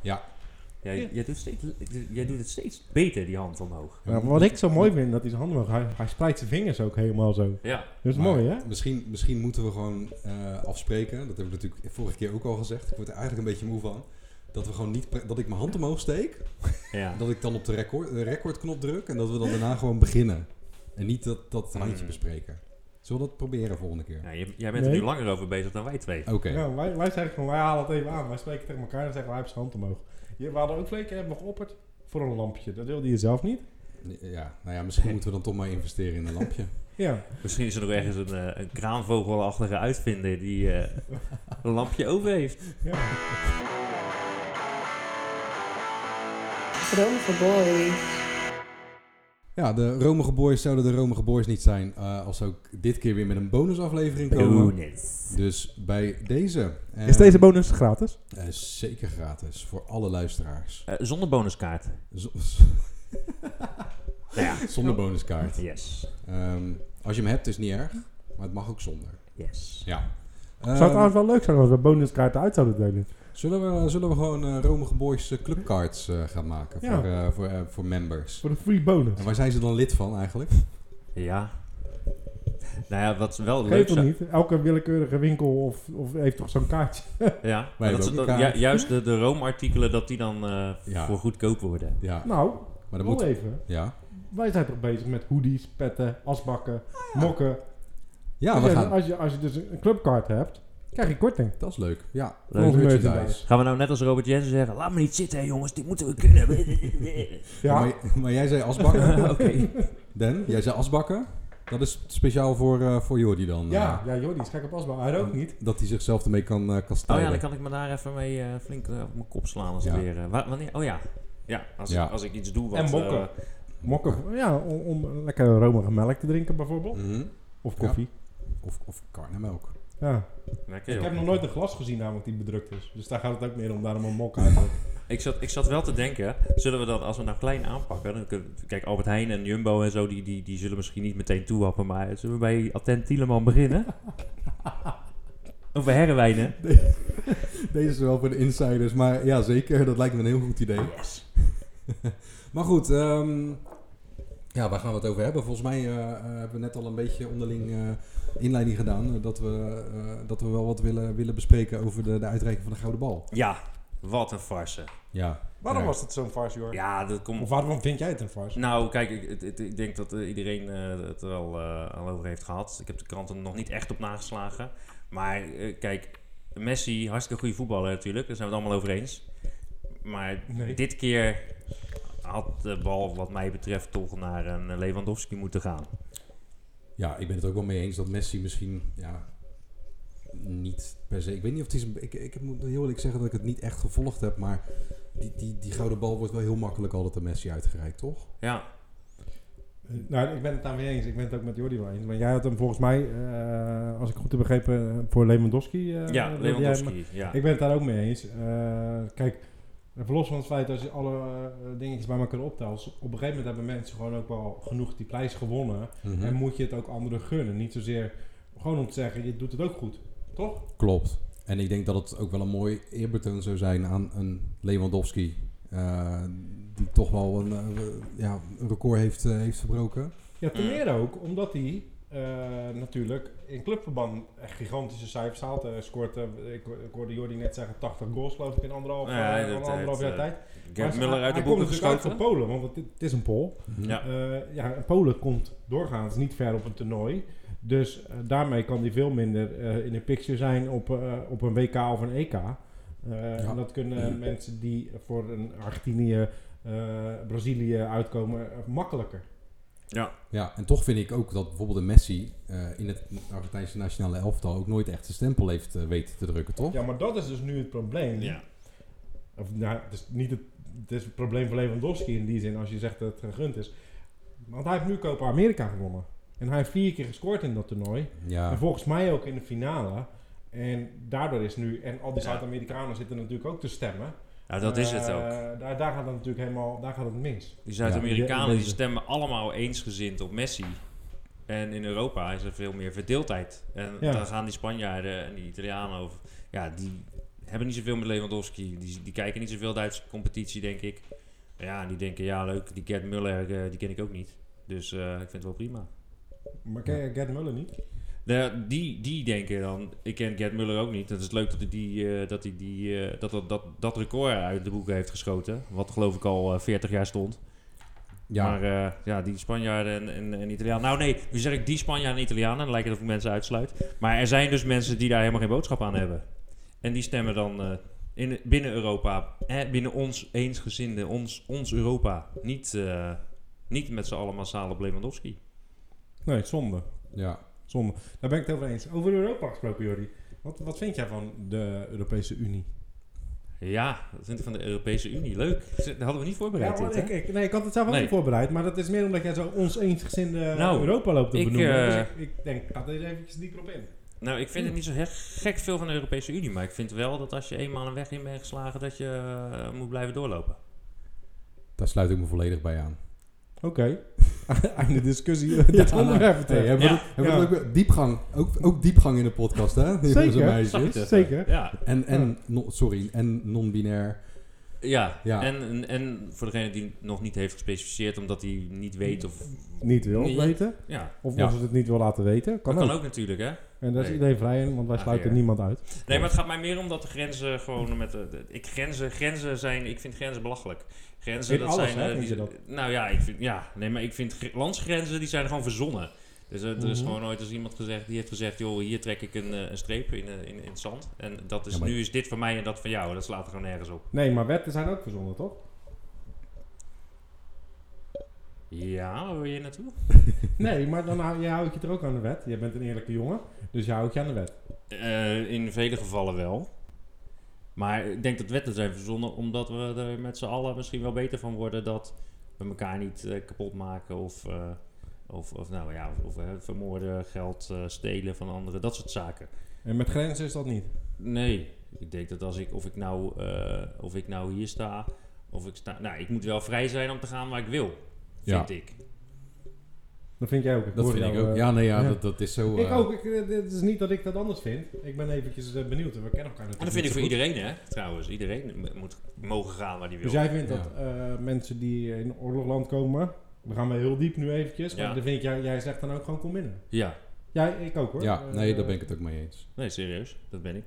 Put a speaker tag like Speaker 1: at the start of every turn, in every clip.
Speaker 1: Ja.
Speaker 2: Jij, jij doet steeds, jij doet het steeds beter, die hand omhoog.
Speaker 1: Ja,
Speaker 3: Ja, maar wat ik zo mooi vind, dat hij zijn handen omhoog- Hij, hij spreidt zijn vingers ook helemaal zo.
Speaker 2: Ja.
Speaker 3: Dat is
Speaker 1: Maar
Speaker 3: mooi, hè?
Speaker 1: Misschien, misschien moeten we gewoon eh, afspreken. Dat hebben we natuurlijk vorige keer ook al gezegd. Ik word er eigenlijk een beetje moe van. Dat, we gewoon niet pre- dat ik mijn hand omhoog steek.
Speaker 2: ja.
Speaker 1: Dat ik dan op de, record, de recordknop druk. En dat we dan daarna gewoon beginnen. En niet dat, dat handje
Speaker 2: Hmm. bespreken.
Speaker 1: bespreken. Zullen we dat proberen volgende keer?
Speaker 2: Ja, jij, jij bent er
Speaker 3: Nee.
Speaker 2: nu langer over bezig dan wij twee.
Speaker 1: Oké.
Speaker 3: Ja, wij, wij zeggen gewoon, wij halen het even aan. Wij spreken tegen elkaar en zeggen, wij hebben zijn hand omhoog. Je, we hadden ook flink hebben geopperd voor een lampje. Dat wilde je zelf niet.
Speaker 1: Ja, nou ja, misschien moeten we dan toch maar investeren in een lampje.
Speaker 3: Ja,
Speaker 2: Misschien is er nog ergens een, eh, een kraanvogelachtige uitvinder die eh, een lampje over heeft.
Speaker 3: ja.
Speaker 4: Romige boys.
Speaker 1: Ja, de Romige Boys zouden de Romige Boys niet zijn eh, als ze ook dit keer weer met een bonusaflevering komen.
Speaker 2: Bonus.
Speaker 1: Dus bij deze. eh,
Speaker 3: Is deze bonus gratis?
Speaker 1: eh, zeker gratis voor alle luisteraars.
Speaker 2: Eh, zonder bonuskaart.
Speaker 1: Z-
Speaker 2: Nou ja.
Speaker 1: zonder bonuskaart.
Speaker 2: Yes.
Speaker 1: Ehm, als je hem hebt is niet erg, maar het mag ook zonder.
Speaker 2: Yes.
Speaker 1: Ja. Ehm.
Speaker 3: Zou het trouwens wel leuk zijn als we bonuskaarten uit zouden delen?
Speaker 1: zullen, we, zullen we gewoon eh, Romige Boys eh, clubcards eh, gaan maken
Speaker 3: Ja.
Speaker 1: voor, eh, voor, eh, voor members?
Speaker 3: Voor de free bonus.
Speaker 1: En waar zijn ze dan lid van eigenlijk?
Speaker 2: Ja. Nou ja, wat wel leuk
Speaker 3: Geef
Speaker 2: zou...
Speaker 3: het niet. Elke willekeurige winkel of, of heeft toch zo'n kaartje.
Speaker 2: Ja,
Speaker 1: Wij
Speaker 2: dat
Speaker 1: hebben
Speaker 2: ze
Speaker 1: ook
Speaker 2: dat-
Speaker 1: een
Speaker 2: ja,
Speaker 1: kaart.
Speaker 2: juist de, de roomartikelen, dat die dan eh,
Speaker 1: Ja.
Speaker 2: voor goedkoop worden.
Speaker 1: Ja,
Speaker 3: Nou,
Speaker 1: maar dat
Speaker 3: wel
Speaker 1: moet...
Speaker 3: even.
Speaker 1: Ja,
Speaker 3: Wij zijn toch bezig met hoodies, petten, asbakken, mokken.
Speaker 1: Ah, ja
Speaker 3: Dus
Speaker 1: we
Speaker 3: ja,
Speaker 1: gaan.
Speaker 3: als, je, als je dus een clubkaart hebt, krijg je korting.
Speaker 1: Dat is leuk. Ja,
Speaker 2: Leuk.
Speaker 1: voor
Speaker 3: Merchandise.
Speaker 2: Gaan we nou net als Robert Jensen zeggen, laat me niet zitten hè, jongens, dit moeten we kunnen.
Speaker 1: Ja,
Speaker 3: Ja,
Speaker 1: Maar, maar jij zei asbakken.
Speaker 2: Oké.
Speaker 1: Dan, jij zei asbakken. Dat is speciaal voor, eh voor Jordi dan.
Speaker 3: ja,
Speaker 1: eh,
Speaker 3: ja Jordi is gek op asbak. Hij ook niet.
Speaker 1: dat hij zichzelf ermee kan eh kan
Speaker 2: Oh
Speaker 1: strijden.
Speaker 2: ja, dan kan ik me daar even mee eh, flink eh, op mijn kop slaan als
Speaker 1: Ja.
Speaker 2: het weer... eh, wa- wanneer? Oh ja. Ja, als,
Speaker 1: Ja.
Speaker 2: Ik, als ik iets doe wat...
Speaker 3: En mokken.
Speaker 2: eh,
Speaker 3: Mokken, voor- ja, om, om lekker romige melk te drinken bijvoorbeeld.
Speaker 1: Mhm.
Speaker 3: Of koffie.
Speaker 1: Of, of karnemelk.
Speaker 3: Ja.
Speaker 2: lekker,
Speaker 3: Ik
Speaker 2: joh.
Speaker 3: heb nog nooit een glas gezien namelijk die bedrukt is. Dus daar gaat het ook meer om, daarom een mok uit.
Speaker 2: Ik zat, ik zat wel te denken, zullen we dat als we nou klein aanpakken? Dan kunnen, kijk, Albert Heijn en Jumbo en zo, die, die, die zullen misschien niet meteen toehappen. Maar zullen we bij Attent Tieleman beginnen? of bij Herrewijnen?
Speaker 1: Deze is wel voor de insiders, maar ja, zeker. Dat lijkt me een heel goed idee.
Speaker 2: Yes.
Speaker 1: Maar goed, ehm, ja, waar gaan we het over hebben? Volgens mij eh, eh, hebben we net al een beetje onderling eh, inleiding gedaan. eh, dat, we, eh, dat we wel wat willen, willen bespreken over de, de uitreiking van de Gouden Bal.
Speaker 2: Ja, wat een farse.
Speaker 1: Ja.
Speaker 3: Waarom
Speaker 1: Ja.
Speaker 3: was het zo'n farce, Jordi?
Speaker 2: Ja, dat komt...
Speaker 3: Of waarom vind jij het een farce?
Speaker 2: Nou, kijk, ik, het- het- ik denk dat eh, iedereen eh, het er al, eh, al over heeft gehad. Ik heb de kranten nog niet echt op nageslagen. Maar eh, kijk, Messi, hartstikke goede voetballer natuurlijk. Daar zijn we het allemaal over eens. Maar
Speaker 3: Nee.
Speaker 2: dit keer had de bal wat mij betreft toch naar een Lewandowski moeten gaan.
Speaker 1: Ja, ik ben het ook wel mee eens dat Messi misschien ja, niet per se. Ik weet niet of het is. een- Ik, ik moet heel eerlijk zeggen dat ik het niet echt gevolgd heb, maar die, die, die gouden bal wordt wel heel makkelijk altijd aan Messi uitgereikt, toch?
Speaker 2: Ja,
Speaker 3: Nou, ik ben het daarmee eens. Ik ben het ook met Jordi wel eens. Maar jij had hem volgens mij, eh, als ik goed heb begrepen, voor Lewandowski. eh,
Speaker 2: ja
Speaker 3: wilde jij hem-
Speaker 2: Lewandowski. Ja.
Speaker 3: Ik ben het daar ook mee eens. Eh, kijk, los van het feit dat je alle eh, dingetjes bij elkaar optelt. Op een gegeven moment hebben mensen gewoon ook wel genoeg die prijs gewonnen. En moet je het ook anderen gunnen. Niet zozeer gewoon om te zeggen, je doet het ook goed. Toch?
Speaker 1: Klopt. En ik denk dat het ook wel een mooi eerbetoon zou zijn aan een Lewandowski. eh, die toch wel een, eh, ja, een record heeft, eh, heeft verbroken.
Speaker 3: Ja, ten meer ook omdat hij eh, natuurlijk in clubverband echt gigantische cijfers haalt. Hij scoort, eh, ik, ik hoorde Jordi net zeggen, 80 goals geloof ik in anderhalf,
Speaker 2: Ja,
Speaker 3: eh,
Speaker 2: dat-
Speaker 3: in anderhalf
Speaker 2: dat,
Speaker 3: jaar
Speaker 2: eh,
Speaker 3: tijd. Maar
Speaker 2: Gerd
Speaker 3: ze-
Speaker 2: Muller uit de
Speaker 3: hij komt
Speaker 2: boeken
Speaker 3: natuurlijk uit
Speaker 2: geschoten.
Speaker 3: van Polen, want het, het is een Pool.
Speaker 2: Ja.
Speaker 3: Eh, ja, en Polen komt doorgaans niet ver op een toernooi. Dus eh, daarmee kan hij veel minder eh, in de picture zijn op, eh, op een WK of een EK. Eh, En dat kunnen mensen die voor een Argentinië, eh, Brazilië uitkomen eh, makkelijker.
Speaker 1: Ja, en toch vind ik ook dat bijvoorbeeld een Messi eh, in het Argentijnse nationale elftal ook nooit echt zijn stempel heeft eh, weten te drukken, toch?
Speaker 3: Ja, maar dat is dus nu het probleem.
Speaker 2: Ja.
Speaker 3: Of, nou, het is niet het, het is het probleem van Lewandowski in die zin, als je zegt dat het gegund is. Want hij heeft nu Copa America gewonnen. En hij heeft vier keer gescoord in dat toernooi.
Speaker 1: Ja.
Speaker 2: Ah.
Speaker 3: En volgens mij ook in de finale. En daardoor is nu, en al die
Speaker 2: Ja.
Speaker 3: Zuid-Amerikanen zitten natuurlijk ook te stemmen.
Speaker 2: Nou, dat is het
Speaker 3: Eh,
Speaker 2: ook.
Speaker 3: Daar, daar gaat het natuurlijk helemaal, daar gaat het mis.
Speaker 2: Die Zuid-Amerikanen
Speaker 3: Ja, ik
Speaker 2: die
Speaker 3: ben-
Speaker 2: stemmen allemaal eensgezind op Messi. En in Europa is er veel meer verdeeldheid. En
Speaker 3: Ja.
Speaker 2: dan gaan die Spanjaarden en die Italianen over. Ja, die hebben niet zoveel met Lewandowski. Die, die kijken niet zoveel Duitse competitie, denk ik. Ja, en die denken, ja leuk, die Gerd Muller, eh, die ken ik ook niet. Dus eh, ik vind het wel prima.
Speaker 3: Maar ken je Gerd Muller niet?
Speaker 2: Nou, die, die denken dan, ik ken Gerd Muller ook niet. Het is leuk dat hij die, eh, dat, hij die, eh, dat, dat, dat, dat record uit de boeken heeft geschoten. Wat geloof ik al eh, 40 jaar stond.
Speaker 1: Ja,
Speaker 2: Maar eh, ja, die Spanjaarden en, en, en Italianen. Nou nee, nu zeg ik die Spanjaarden en Italianen. Dan lijkt het of ik mensen uitsluit. Maar er zijn dus mensen die daar helemaal geen boodschap aan hebben. En die stemmen dan eh, in, binnen Europa. Eh, binnen ons eensgezinde, ons, ons Europa. Niet, eh, niet met z'n allen massaal op Lewandowski.
Speaker 3: Nee, zonde.
Speaker 1: ja.
Speaker 3: Zonde. Daar ben ik het over eens. Over Europa gesproken, Jordi. Wat, wat vind jij van de Europese Unie?
Speaker 2: Ja, dat vind ik van de Europese Unie. Leuk. Dat hadden we niet voorbereid.
Speaker 3: maar
Speaker 2: dit, hè?
Speaker 3: ik, ik, nee, ik had het zelf ook
Speaker 2: Nee.
Speaker 3: niet voorbereid, maar dat is meer omdat jij zo ons eensgezinde
Speaker 2: Nou,
Speaker 3: Europa loopt te
Speaker 2: ik,
Speaker 3: benoemen.
Speaker 2: eh,
Speaker 3: Dus ik, ik denk, ik ga er eens eventjes dieper op in.
Speaker 2: Nou, ik vind het niet zo he- gek veel van de Europese Unie. Maar ik vind wel dat als je eenmaal een weg in bent geslagen, dat je eh, moet blijven doorlopen.
Speaker 1: daar sluit ik me volledig bij aan.
Speaker 3: Oké. Einde discussie. Dat
Speaker 1: nou,
Speaker 3: onderwerp
Speaker 1: hey,
Speaker 3: betreft.
Speaker 1: hebben we
Speaker 2: Ja.
Speaker 1: dat- hebben we
Speaker 3: Ja.
Speaker 1: dat ook weer- diepgang, ook, ook diepgang in de podcast, hè? Die jongens en
Speaker 3: Zeker.
Speaker 1: meisjes.
Speaker 3: Zeker.
Speaker 2: Ja,
Speaker 1: En, en no- sorry, en non-binair.
Speaker 2: Ja,
Speaker 1: Ja.
Speaker 2: En, en, en voor degene die het nog niet heeft gespecificeerd, omdat hij niet weet of...
Speaker 3: Niet wil
Speaker 2: Nee.
Speaker 3: weten.
Speaker 2: Ja,
Speaker 3: Of
Speaker 1: Ja.
Speaker 3: als het het niet wil laten weten. Kan,
Speaker 2: dat
Speaker 3: ook.
Speaker 2: kan ook natuurlijk, hè?
Speaker 3: En daar is
Speaker 2: Nee.
Speaker 3: iedereen vrij in, want wij
Speaker 2: Ah,
Speaker 3: sluiten
Speaker 2: heer.
Speaker 3: niemand uit.
Speaker 2: Nee, maar het gaat mij meer om dat de grenzen gewoon met... De, de- ik, grenzen, grenzen zijn... Ik vind grenzen belachelijk. Grenzen,
Speaker 3: In
Speaker 2: dat
Speaker 3: alles,
Speaker 2: zijn...
Speaker 3: hè,
Speaker 2: eh,
Speaker 3: vind
Speaker 2: die-
Speaker 3: je dat?
Speaker 2: Nou ja, ik vind... Ja, nee, maar ik vind gr- landsgrenzen, die zijn gewoon verzonnen. Dus eh, er is
Speaker 3: Mhm.
Speaker 2: gewoon nooit eens iemand gezegd, die heeft gezegd... joh, hier trek ik een, eh, een streep in, eh, in, in het zand. En dat is,
Speaker 1: Ja, maar-
Speaker 2: nu is dit van mij en dat van jou. En dat slaat er gewoon nergens op.
Speaker 3: Nee, maar wetten zijn ook verzonnen, toch?
Speaker 2: Ja, waar wil je naartoe?
Speaker 3: Nee, maar dan hou, je houdt je er ook aan de wet. Jij bent een eerlijke jongen, dus je houdt je aan de wet.
Speaker 2: Eh, in vele gevallen wel. Maar ik denk dat wetten zijn verzonnen omdat we er met z'n allen misschien wel beter van worden dat we elkaar niet eh, kapot maken of, eh, of, of, nou, ja, of, of, eh, vermoorden, geld eh, stelen van anderen, dat soort zaken.
Speaker 3: En met grenzen is dat niet.
Speaker 2: Nee, ik denk dat als ik, of ik nou, eh, of ik nou hier sta, of ik sta, nou, ik moet wel vrij zijn om te gaan waar ik wil,
Speaker 1: Ja,
Speaker 2: vind ik.
Speaker 3: Dat vind jij ook.
Speaker 1: dat
Speaker 3: hoor
Speaker 1: vind ik
Speaker 3: jou,
Speaker 1: ook.
Speaker 3: eh,
Speaker 1: Ja, nee, nou, ja,
Speaker 3: ja.
Speaker 1: Dat, dat is zo...
Speaker 3: Ik
Speaker 1: eh,
Speaker 3: ook. Ik, eh, het is niet dat ik dat anders vind. Ik ben eventjes eh, benieuwd. We kennen elkaar natuurlijk
Speaker 2: En dat
Speaker 3: niet
Speaker 2: vind ik
Speaker 3: zo
Speaker 2: voor
Speaker 3: goed.
Speaker 2: iedereen, hè, trouwens. Iedereen m- moet mogen gaan waar hij wil.
Speaker 3: Dus jij vindt
Speaker 1: Ja.
Speaker 3: dat eh, mensen die in oorlogland komen... We gaan wel heel diep nu eventjes.
Speaker 2: Ja.
Speaker 3: Maar dan vind ik, jij, jij zegt dan ook gewoon kom binnen.
Speaker 2: Ja,
Speaker 3: Ja, ik ook hoor.
Speaker 1: Ja,
Speaker 3: Eh,
Speaker 1: nee, daar ben ik het ook mee eens.
Speaker 2: nee, serieus, dat ben ik.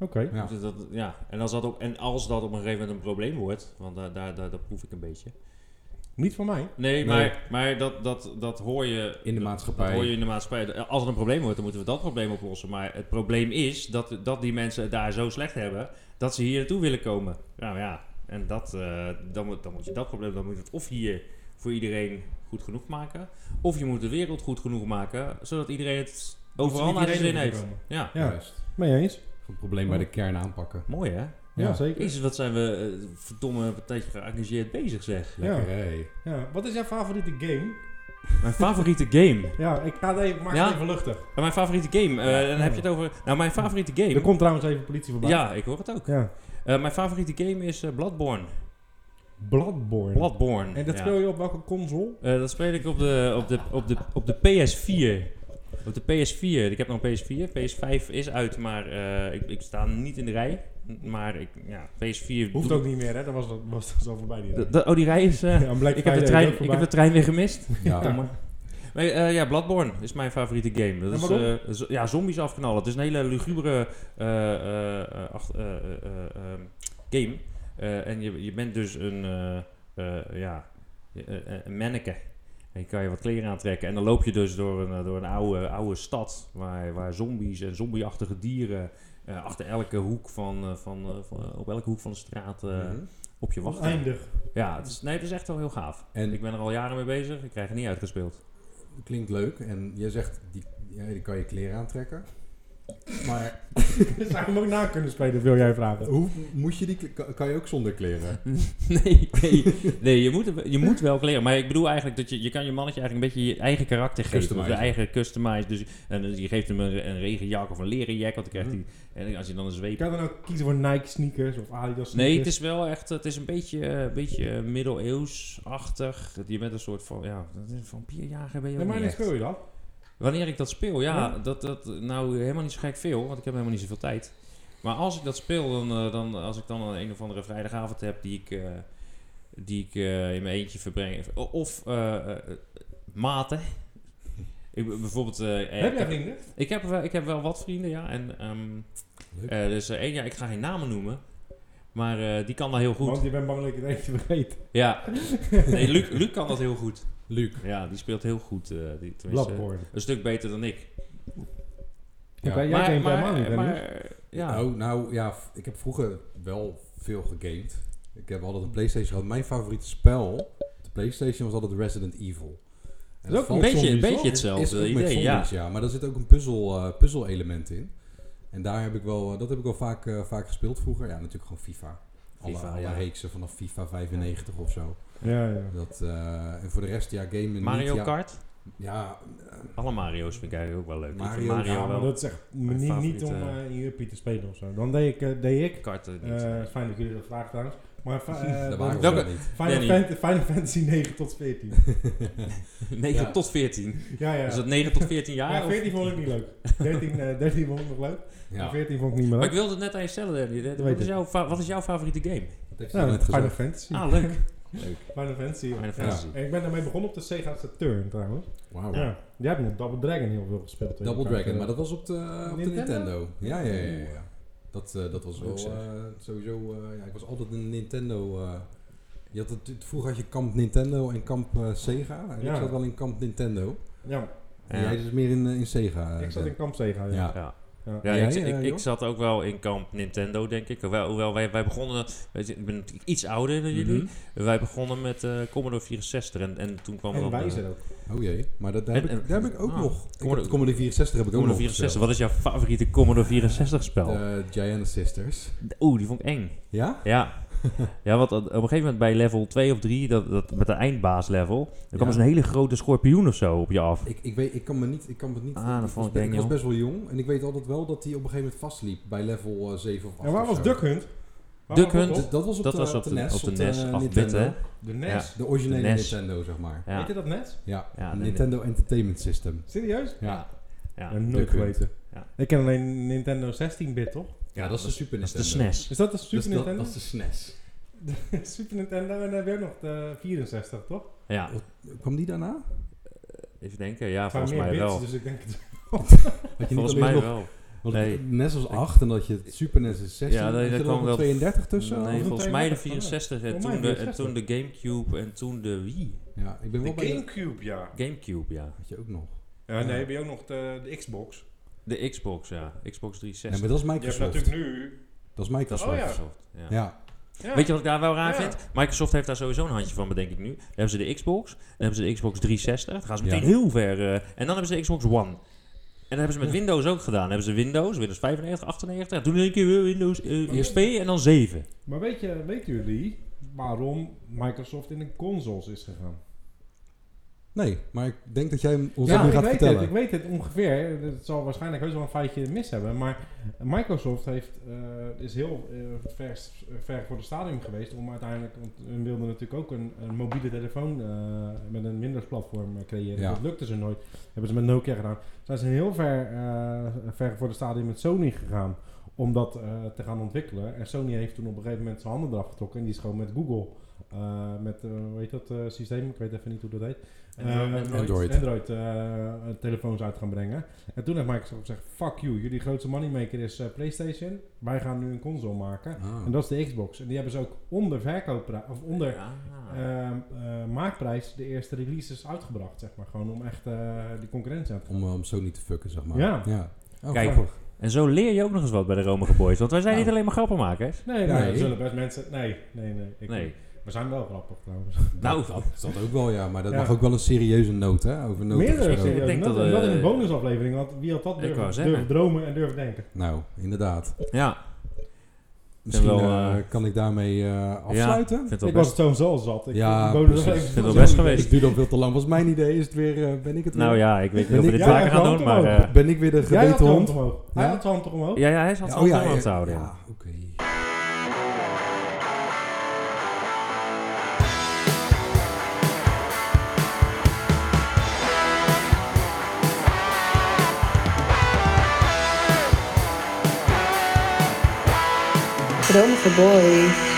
Speaker 3: Oké.
Speaker 1: Ja.
Speaker 2: Dus dat, ja. En, als dat op, en als dat op een gegeven moment een probleem wordt, want daar, daar, daar, dat proef ik een beetje.
Speaker 3: Niet van mij.
Speaker 2: Nee, maar, maar dat, dat, dat hoor je.
Speaker 1: In de
Speaker 2: Dat hoor je
Speaker 1: maatschappij.
Speaker 2: in de maatschappij. Als er een probleem wordt, dan moeten we dat probleem oplossen. Maar het probleem is dat, dat die mensen het daar zo slecht hebben dat ze hier naartoe willen komen. Nou ja, en dat, eh, dan, moet, dan moet je dat probleem, dan moet je het of hier voor iedereen goed genoeg maken, of je moet de wereld goed genoeg maken, zodat iedereen het overal
Speaker 3: niet
Speaker 2: naar zijn
Speaker 3: iedereen
Speaker 2: zin
Speaker 3: hoeven
Speaker 2: heeft.
Speaker 3: te komen.
Speaker 2: Ja,
Speaker 3: Ja.
Speaker 1: Juist.
Speaker 3: Mee eens?
Speaker 1: Het probleem bij de kern aanpakken.
Speaker 2: mooi hè?
Speaker 3: Ja,
Speaker 1: Ja.
Speaker 3: zeker.
Speaker 2: Jezus, wat zijn we eh, verdomme een tijdje geëngageerd bezig, zeg.
Speaker 3: Ja.
Speaker 1: Lekker, hé.
Speaker 3: Ja. Wat is jouw favoriete game?
Speaker 2: Mijn favoriete game.
Speaker 3: Ja, ik ga het even, maak
Speaker 2: Ja?
Speaker 3: het even luchtig.
Speaker 2: Eh, Mijn favoriete game. eh, dan heb je het over... Nou, mijn favoriete
Speaker 3: Er
Speaker 2: game...
Speaker 3: komt trouwens even politie voorbij.
Speaker 2: Ja, ik hoor het ook.
Speaker 3: ja.
Speaker 2: Eh, mijn favoriete game is eh, Bloodborne.
Speaker 3: Bloodborne.
Speaker 2: Bloodborne.
Speaker 3: En dat
Speaker 2: ja.
Speaker 3: speel je op welke console?
Speaker 2: Eh, dat speel ik op de, op, de, op, de, op de PS4. Op de PS4. Ik heb nog een PS4. PS5 is uit, maar eh, ik, ik sta niet in de rij. Maar ik, ja, PS4...
Speaker 3: Hoeft ook niet meer, hè? Dat was, dat was dat zo voorbij die
Speaker 2: Dat- dat- Oh, die rij is... eh,
Speaker 3: Ja, Black
Speaker 2: ik, heb de
Speaker 3: Friday is ook
Speaker 2: trein, ik
Speaker 3: voorbij.
Speaker 2: heb de trein weer gemist.
Speaker 3: Oh,
Speaker 1: Ja.
Speaker 2: Jammer. Maar, eh, ja, Bloodborne is mijn favoriete game. Dat
Speaker 3: En
Speaker 2: is,
Speaker 3: waarom?
Speaker 2: eh, zo- ja, zombies afknallen. Het is een hele lugubere eh, eh, eh, ach- eh, eh, eh, ehm, game. Eh, en je, je bent dus een, eh, eh, ja, eh, eh, een manneke. En je kan je wat kleren aantrekken. En dan loop je dus door een, eh, door een oude, oude stad. Waar, waar zombies en zombieachtige dieren eh, achter elke hoek van, eh, van, eh, van, eh, op elke hoek van de straat eh,
Speaker 1: Mhm.
Speaker 2: op je wachten.
Speaker 3: Eindig.
Speaker 2: Ja, het is, nee, het is echt wel heel gaaf.
Speaker 1: En-
Speaker 2: ik ben er al jaren mee bezig. Ik krijg het niet uitgespeeld.
Speaker 1: Klinkt leuk. En jij zegt, die, ja, die kan je kleren aantrekken. Maar
Speaker 3: Zou je hem ook na kunnen spelen, wil jij vragen?
Speaker 1: Eh, hoe moet je die... kle- kan- Kan je ook zonder kleren?
Speaker 2: Nee, nee, nee je, moet, er- je moet wel kleren. Maar ik bedoel eigenlijk dat je, je kan je mannetje eigenlijk een beetje je eigen karakter geven. Of de
Speaker 1: Customizen.
Speaker 2: eigen customize. Dus, en dus je geeft hem een, een regenjak of een leren jack. Want dan krijgt hij. En als je dan een
Speaker 3: Je
Speaker 2: zweep.
Speaker 3: kan dan ook kiezen voor Nike sneakers of Adidas sneakers.
Speaker 2: Nee, het is wel echt. Het is een beetje, eh, beetje middeleeuws-achtig. Je bent een soort van. Ja, dat is vampierjager ben je ook.
Speaker 3: Nee, maar
Speaker 2: niet
Speaker 3: dan
Speaker 2: echt.
Speaker 3: speel je dat.
Speaker 2: Wanneer ik dat speel, ja,
Speaker 3: Ja.
Speaker 2: Dat, dat nou helemaal niet zo gek veel, want ik heb helemaal niet zoveel tijd. Maar als ik dat speel, dan, eh, dan als ik dan een of andere vrijdagavond heb die ik, eh, die ik eh, in mijn eentje verbreng. Of, of eh, eh, eh, maten. Ik, ben bijvoorbeeld, eh, eh,
Speaker 3: Heb
Speaker 2: ik,
Speaker 3: jij
Speaker 2: heb,
Speaker 3: vrienden?
Speaker 2: ik, heb wel, ik heb wel wat vrienden, ja. En, ehm,
Speaker 1: Leuk.
Speaker 2: eh, dus eh, één, ja, ik ga geen namen noemen. Maar eh, die kan dat heel goed.
Speaker 3: Want je bent bang dat ik het eentje vergeet.
Speaker 2: Ja. Nee, Luc, Luc kan dat heel goed.
Speaker 1: Luc.
Speaker 2: Ja, die speelt heel goed. eh, die, tenminste,
Speaker 3: Bloodborne.
Speaker 2: een stuk beter dan ik.
Speaker 1: Ja.
Speaker 3: Jij
Speaker 2: maar,
Speaker 3: gamet
Speaker 2: maar,
Speaker 3: helemaal niet, hè,
Speaker 2: maar, ja.
Speaker 1: Nou, nou ja, v- ik heb vroeger wel veel gegamed. Ik heb altijd een PlayStation gehad. Mijn favoriete spel op de PlayStation was altijd Resident Evil. En
Speaker 3: Dat is ook
Speaker 2: Een
Speaker 1: valt-
Speaker 3: met
Speaker 2: beetje, een
Speaker 3: zombies,
Speaker 2: beetje
Speaker 3: hoor.
Speaker 1: is ook
Speaker 2: hetzelfde
Speaker 1: met
Speaker 2: idee, ja.
Speaker 1: zombies, ja. Maar daar zit ook een puzzel, eh, puzzel-element in. En daar heb ik wel, dat heb ik wel vaak, eh, vaak gespeeld vroeger. Ja, natuurlijk gewoon FIFA. Alle,
Speaker 2: FIFA,
Speaker 1: alle
Speaker 2: ja.
Speaker 1: reeksen vanaf FIFA 95 of zo.
Speaker 3: Ja, ja.
Speaker 1: Dat, eh, en voor de rest, ja, gamen
Speaker 2: Mario
Speaker 1: niet, ja.
Speaker 2: Kart?
Speaker 1: Ja, eh,
Speaker 2: Alle Mario's vind ik eigenlijk ook wel leuk. ik vind
Speaker 1: Mario-
Speaker 2: Mario
Speaker 3: Ja, maar
Speaker 2: wel.
Speaker 3: dat is echt
Speaker 2: Mijn
Speaker 3: niet, niet
Speaker 2: favoriete-
Speaker 3: om eh, in Juppie te spelen of zo. Dan deed ik, eh, deed ik
Speaker 2: Kart eh, niet.
Speaker 3: eh, fijn dat jullie dat vragen trouwens, maar fa- eh,
Speaker 1: daar
Speaker 3: dan-
Speaker 1: waren we
Speaker 2: welke-
Speaker 1: zo niet.
Speaker 3: Final,
Speaker 2: Danny.
Speaker 3: Fant- Final Fantasy 9 tot 14.
Speaker 2: 9
Speaker 1: ja.
Speaker 2: tot 14.
Speaker 3: ja, ja.
Speaker 2: Is dat 9 tot 14 jaar?
Speaker 3: ja,
Speaker 2: of-
Speaker 3: 14 vond ik niet leuk. 13, eh, 13 vond ik nog leuk, maar
Speaker 1: Ja,
Speaker 3: 14 vond ik niet meer
Speaker 2: Maar
Speaker 3: leuk.
Speaker 2: ik wilde het net aan je stellen, Danny. Wat
Speaker 3: weet
Speaker 2: is
Speaker 3: ik.
Speaker 2: jouw fa- Wat is jouw favoriete game?
Speaker 1: dat heeft hij
Speaker 3: Nou,
Speaker 1: net
Speaker 3: Final
Speaker 1: gezegd.
Speaker 3: Fantasy.
Speaker 2: Ah, leuk. leuk.
Speaker 3: Final Fantasy. ja.
Speaker 2: Final Fantasy. Oh.
Speaker 3: Ja. En ik ben daarmee begonnen op de Sega Saturn trouwens.
Speaker 1: Wauw.
Speaker 3: Ja. Jij hebt nog Double Dragon heel veel gespeeld. hè?
Speaker 1: Double
Speaker 3: Je kan
Speaker 1: Dragon,
Speaker 3: het,
Speaker 1: maar dat was op de, op de
Speaker 3: Nintendo?
Speaker 1: Nintendo. Ja, ja, ja. ja, ja. Dat, eh, dat was
Speaker 2: Leuk
Speaker 1: wel
Speaker 2: zeg.
Speaker 1: eh, sowieso... eh, ja, ik was altijd een Nintendo... eh, je had het, vroeger had je kamp Nintendo en kamp eh, Sega. En
Speaker 3: Ja.
Speaker 1: ik zat wel in kamp Nintendo.
Speaker 3: eh, Ja,
Speaker 1: En jij dus meer in, eh, in Sega. eh,
Speaker 3: ik zat in
Speaker 1: Dan.
Speaker 3: Kamp Sega. Ja.
Speaker 1: Ja.
Speaker 2: Ja.
Speaker 3: Ja.
Speaker 2: Ja,
Speaker 1: Jij,
Speaker 2: ik,
Speaker 1: eh,
Speaker 2: ik, ik
Speaker 1: Job?
Speaker 2: zat ook wel in kamp Nintendo, denk ik. Hoewel, hoewel wij, wij begonnen... Weet je, ik ben natuurlijk iets ouder dan jullie.
Speaker 3: Mhm.
Speaker 2: Wij begonnen met eh, Commodore 64. En, en toen kwam
Speaker 3: En
Speaker 2: dan... eh,
Speaker 3: wijzer ook.
Speaker 1: Oh jee, maar dat, daar,
Speaker 2: En-
Speaker 1: heb ik,
Speaker 2: en-
Speaker 1: daar heb ik ook
Speaker 2: ah,
Speaker 1: nog. Ik heb
Speaker 2: Commodore-
Speaker 1: de Commodore 64 heb ik ook
Speaker 2: Commodore
Speaker 1: nog
Speaker 2: 64.
Speaker 1: gespeeld.
Speaker 2: Wat is jouw favoriete Commodore 64 spel?
Speaker 1: De Giant Sisters.
Speaker 2: Oeh, die vond ik eng.
Speaker 1: Ja?
Speaker 2: Ja. ja, want op een gegeven moment bij level 2 of 3, dat, dat, met de eindbaas-level, dan kwam
Speaker 1: Ja.
Speaker 2: dus een hele grote schorpioen of zo op je af.
Speaker 1: Ik, ik, weet, ik kan me niet... Ik kan het niet
Speaker 2: Ah, dat vond ik
Speaker 1: was,
Speaker 2: eng,
Speaker 1: ik was
Speaker 2: joh.
Speaker 1: best wel jong. En ik weet altijd wel dat hij op een gegeven moment vastliep bij level eh, 7 of 8
Speaker 3: En waar
Speaker 1: of
Speaker 3: was
Speaker 1: zo.
Speaker 3: Duck Hunt? Waar
Speaker 2: Duck
Speaker 3: was
Speaker 2: Hunt?
Speaker 1: Dat, dat was op
Speaker 2: Dat
Speaker 1: de,
Speaker 2: was op
Speaker 1: de
Speaker 2: de-
Speaker 1: NES.
Speaker 2: op de E
Speaker 1: eh,
Speaker 2: NES, af
Speaker 1: Nintendo.
Speaker 2: wit, hè?
Speaker 3: De NES.
Speaker 1: De originele
Speaker 2: De NES.
Speaker 1: Nintendo, zeg maar.
Speaker 2: Ja.
Speaker 3: Weet je dat NES?
Speaker 1: Ja,
Speaker 2: Ja, de- E
Speaker 1: Nintendo Entertainment System.
Speaker 3: Serieus?
Speaker 1: Ja,
Speaker 2: Ja.
Speaker 3: Ja, nooit
Speaker 1: Duck Hunt.
Speaker 3: geweten.
Speaker 2: Ja.
Speaker 3: Ik ken alleen Nintendo 16-bit, toch?
Speaker 1: ja, dat is de Super
Speaker 2: dat is
Speaker 1: Nintendo.
Speaker 2: de E SNES.
Speaker 3: Is dat de
Speaker 1: Dat is,
Speaker 3: Super
Speaker 1: Dus dat,
Speaker 3: Nintendo?
Speaker 1: dat is de E SNES.
Speaker 3: Super Nintendo en dan heb je ook nog de 64, toch?
Speaker 2: Ja,
Speaker 1: Kwam die daarna?
Speaker 2: even denken. Ja,
Speaker 3: Het waren
Speaker 2: volgens
Speaker 3: meer
Speaker 2: mij
Speaker 3: bits,
Speaker 2: wel.
Speaker 3: dus ik denk het.
Speaker 1: Had je
Speaker 2: Volgens
Speaker 1: niet alleen
Speaker 2: mij
Speaker 1: nog,
Speaker 2: wel.
Speaker 1: want
Speaker 2: Nee.
Speaker 1: de NES was 8 en dat je het Super NES is 16.
Speaker 2: Ja,
Speaker 1: Ja, dat,
Speaker 2: nee, dat
Speaker 1: dat
Speaker 2: kwam
Speaker 1: kwam
Speaker 2: wel-
Speaker 1: 32 tussen?
Speaker 2: Nee,
Speaker 1: of-
Speaker 2: volgens
Speaker 3: twee
Speaker 2: mij de
Speaker 3: weg.
Speaker 2: 64 en
Speaker 3: Volgens mij
Speaker 2: toen de, en
Speaker 3: 64.
Speaker 2: toen de Gamecube en toen de Wii.
Speaker 1: Ja, ik ben wel bij de...
Speaker 3: Gamecube, ja.
Speaker 2: Gamecube, ja.
Speaker 1: Had je ook nog.
Speaker 3: Ja,
Speaker 1: Ja.
Speaker 3: nee, heb je ook nog de, de Xbox.
Speaker 2: De Xbox, ja. Xbox 360.
Speaker 1: Nee, maar dat is
Speaker 3: Je hebt
Speaker 1: Microsoft.
Speaker 3: natuurlijk nu...
Speaker 1: Dat is
Speaker 2: dat is
Speaker 1: Microsoft.
Speaker 3: Oh, ja.
Speaker 2: Microsoft. Ja.
Speaker 1: ja.
Speaker 3: Ja,
Speaker 2: Weet je wat ik daar wel raar
Speaker 3: Ja.
Speaker 2: vind? Microsoft heeft daar sowieso een handje van, bedenk ik nu. Dan hebben ze de Xbox, dan hebben ze de Xbox 360. Dan gaan ze
Speaker 1: Ja.
Speaker 2: meteen heel ver. eh, en dan hebben ze de Xbox One. En dat hebben ze met
Speaker 1: Ja.
Speaker 2: Windows ook gedaan. Dan hebben ze Windows, Windows 95, 98. En toen een keer weer Windows eh,
Speaker 3: Maar-
Speaker 2: XP en dan 7.
Speaker 3: Maar weet je, weten jullie waarom Microsoft in de consoles is gegaan?
Speaker 1: Nee, maar ik denk dat jij hem ons
Speaker 3: ja,
Speaker 1: dat nu
Speaker 3: ik
Speaker 1: gaat
Speaker 3: weet
Speaker 1: vertellen.
Speaker 3: het. Ik weet het ongeveer. Het zal waarschijnlijk heus wel een feitje mis hebben. Maar Microsoft heeft, eh, is heel eh, ver, ver voor de stadium geweest om uiteindelijk... Want hun wilden natuurlijk ook een, een mobiele telefoon eh, met een Windows-platform eh, creëren.
Speaker 1: Ja.
Speaker 3: Dat lukte ze nooit. Hebben ze met Nokia gedaan. Zijn ze heel ver, eh, ver voor de stadium met Sony gegaan om dat eh, te gaan ontwikkelen. En Sony heeft toen op een gegeven moment zijn handen eraf getrokken. En die is gewoon met Google, eh, met, eh hoe heet dat eh, systeem? Ik weet even niet hoe dat heet.
Speaker 2: Android.
Speaker 3: Eh,
Speaker 1: Android.
Speaker 3: Android eh, telefoons uit gaan brengen. En toen heeft Microsoft gezegd, fuck you, jullie grootste moneymaker is eh, PlayStation. Wij gaan nu een console maken.
Speaker 1: Ah.
Speaker 3: En dat is de Xbox. En die hebben ze ook onder verkoopprijs, of onder
Speaker 2: Ja.
Speaker 3: eh, eh, maakprijs, de eerste releases uitgebracht, zeg maar. Gewoon om echt eh, die concurrentie aan te
Speaker 1: om, eh, om zo niet te fucken, zeg maar.
Speaker 3: Ja.
Speaker 1: ja. Oh,
Speaker 2: Kijk.
Speaker 1: grappig.
Speaker 2: En zo leer je ook nog eens wat bij de Romige Boys. Want wij zijn
Speaker 1: Nou.
Speaker 2: niet alleen maar grappenmakers.
Speaker 3: Nee, nee,
Speaker 1: Nee.
Speaker 3: er zullen best mensen... Nee, nee, nee. Ik-
Speaker 2: Nee.
Speaker 3: We zijn wel grappig trouwens.
Speaker 2: Nou,
Speaker 1: dat, dat ook wel, ja. Maar dat
Speaker 3: Ja.
Speaker 1: mag ook wel een serieuze noot, hè? Over noten
Speaker 3: Meerdere
Speaker 1: gesproken.
Speaker 3: serieus.
Speaker 2: Ik denk
Speaker 3: dat,
Speaker 2: dat,
Speaker 3: en dat in een
Speaker 2: eh,
Speaker 3: bonusaflevering, want wie had dat
Speaker 2: ik wou
Speaker 3: durven,
Speaker 2: zeggen.
Speaker 3: durven dromen en durven denken?
Speaker 1: Nou, inderdaad.
Speaker 2: ja.
Speaker 1: Misschien
Speaker 2: wel,
Speaker 1: eh,
Speaker 2: eh,
Speaker 1: kan ik daarmee eh, afsluiten.
Speaker 2: Ik vind
Speaker 3: Ik
Speaker 2: het wel
Speaker 3: was
Speaker 2: best.
Speaker 3: het sowieso al zat. Ik
Speaker 1: Ja,
Speaker 3: ik bonus-
Speaker 1: precies.
Speaker 3: ik-
Speaker 1: Ik
Speaker 2: vind het wel best geweest.
Speaker 1: Ik duur dan veel te lang. Was mijn idee is het weer, eh, ben ik het weer?
Speaker 2: Nou ja, ik weet niet
Speaker 1: Ben
Speaker 2: of we
Speaker 1: ik-
Speaker 2: dit
Speaker 3: Ja,
Speaker 2: vaker
Speaker 3: ik
Speaker 2: gaan
Speaker 3: hoop
Speaker 2: doen,
Speaker 3: het
Speaker 2: maar...
Speaker 3: ook.
Speaker 2: eh,
Speaker 1: Ben ik weer de
Speaker 3: Jij had
Speaker 1: gebeten
Speaker 3: de hand
Speaker 1: hond?
Speaker 3: omhoog. Hij
Speaker 1: Ja?
Speaker 3: had zijn hand toch omhoog?
Speaker 2: ja, ja, hij zat
Speaker 1: Ja,
Speaker 2: het ook aan
Speaker 1: eh,
Speaker 2: te houden. ja.
Speaker 1: Ja, oké.
Speaker 4: for boys.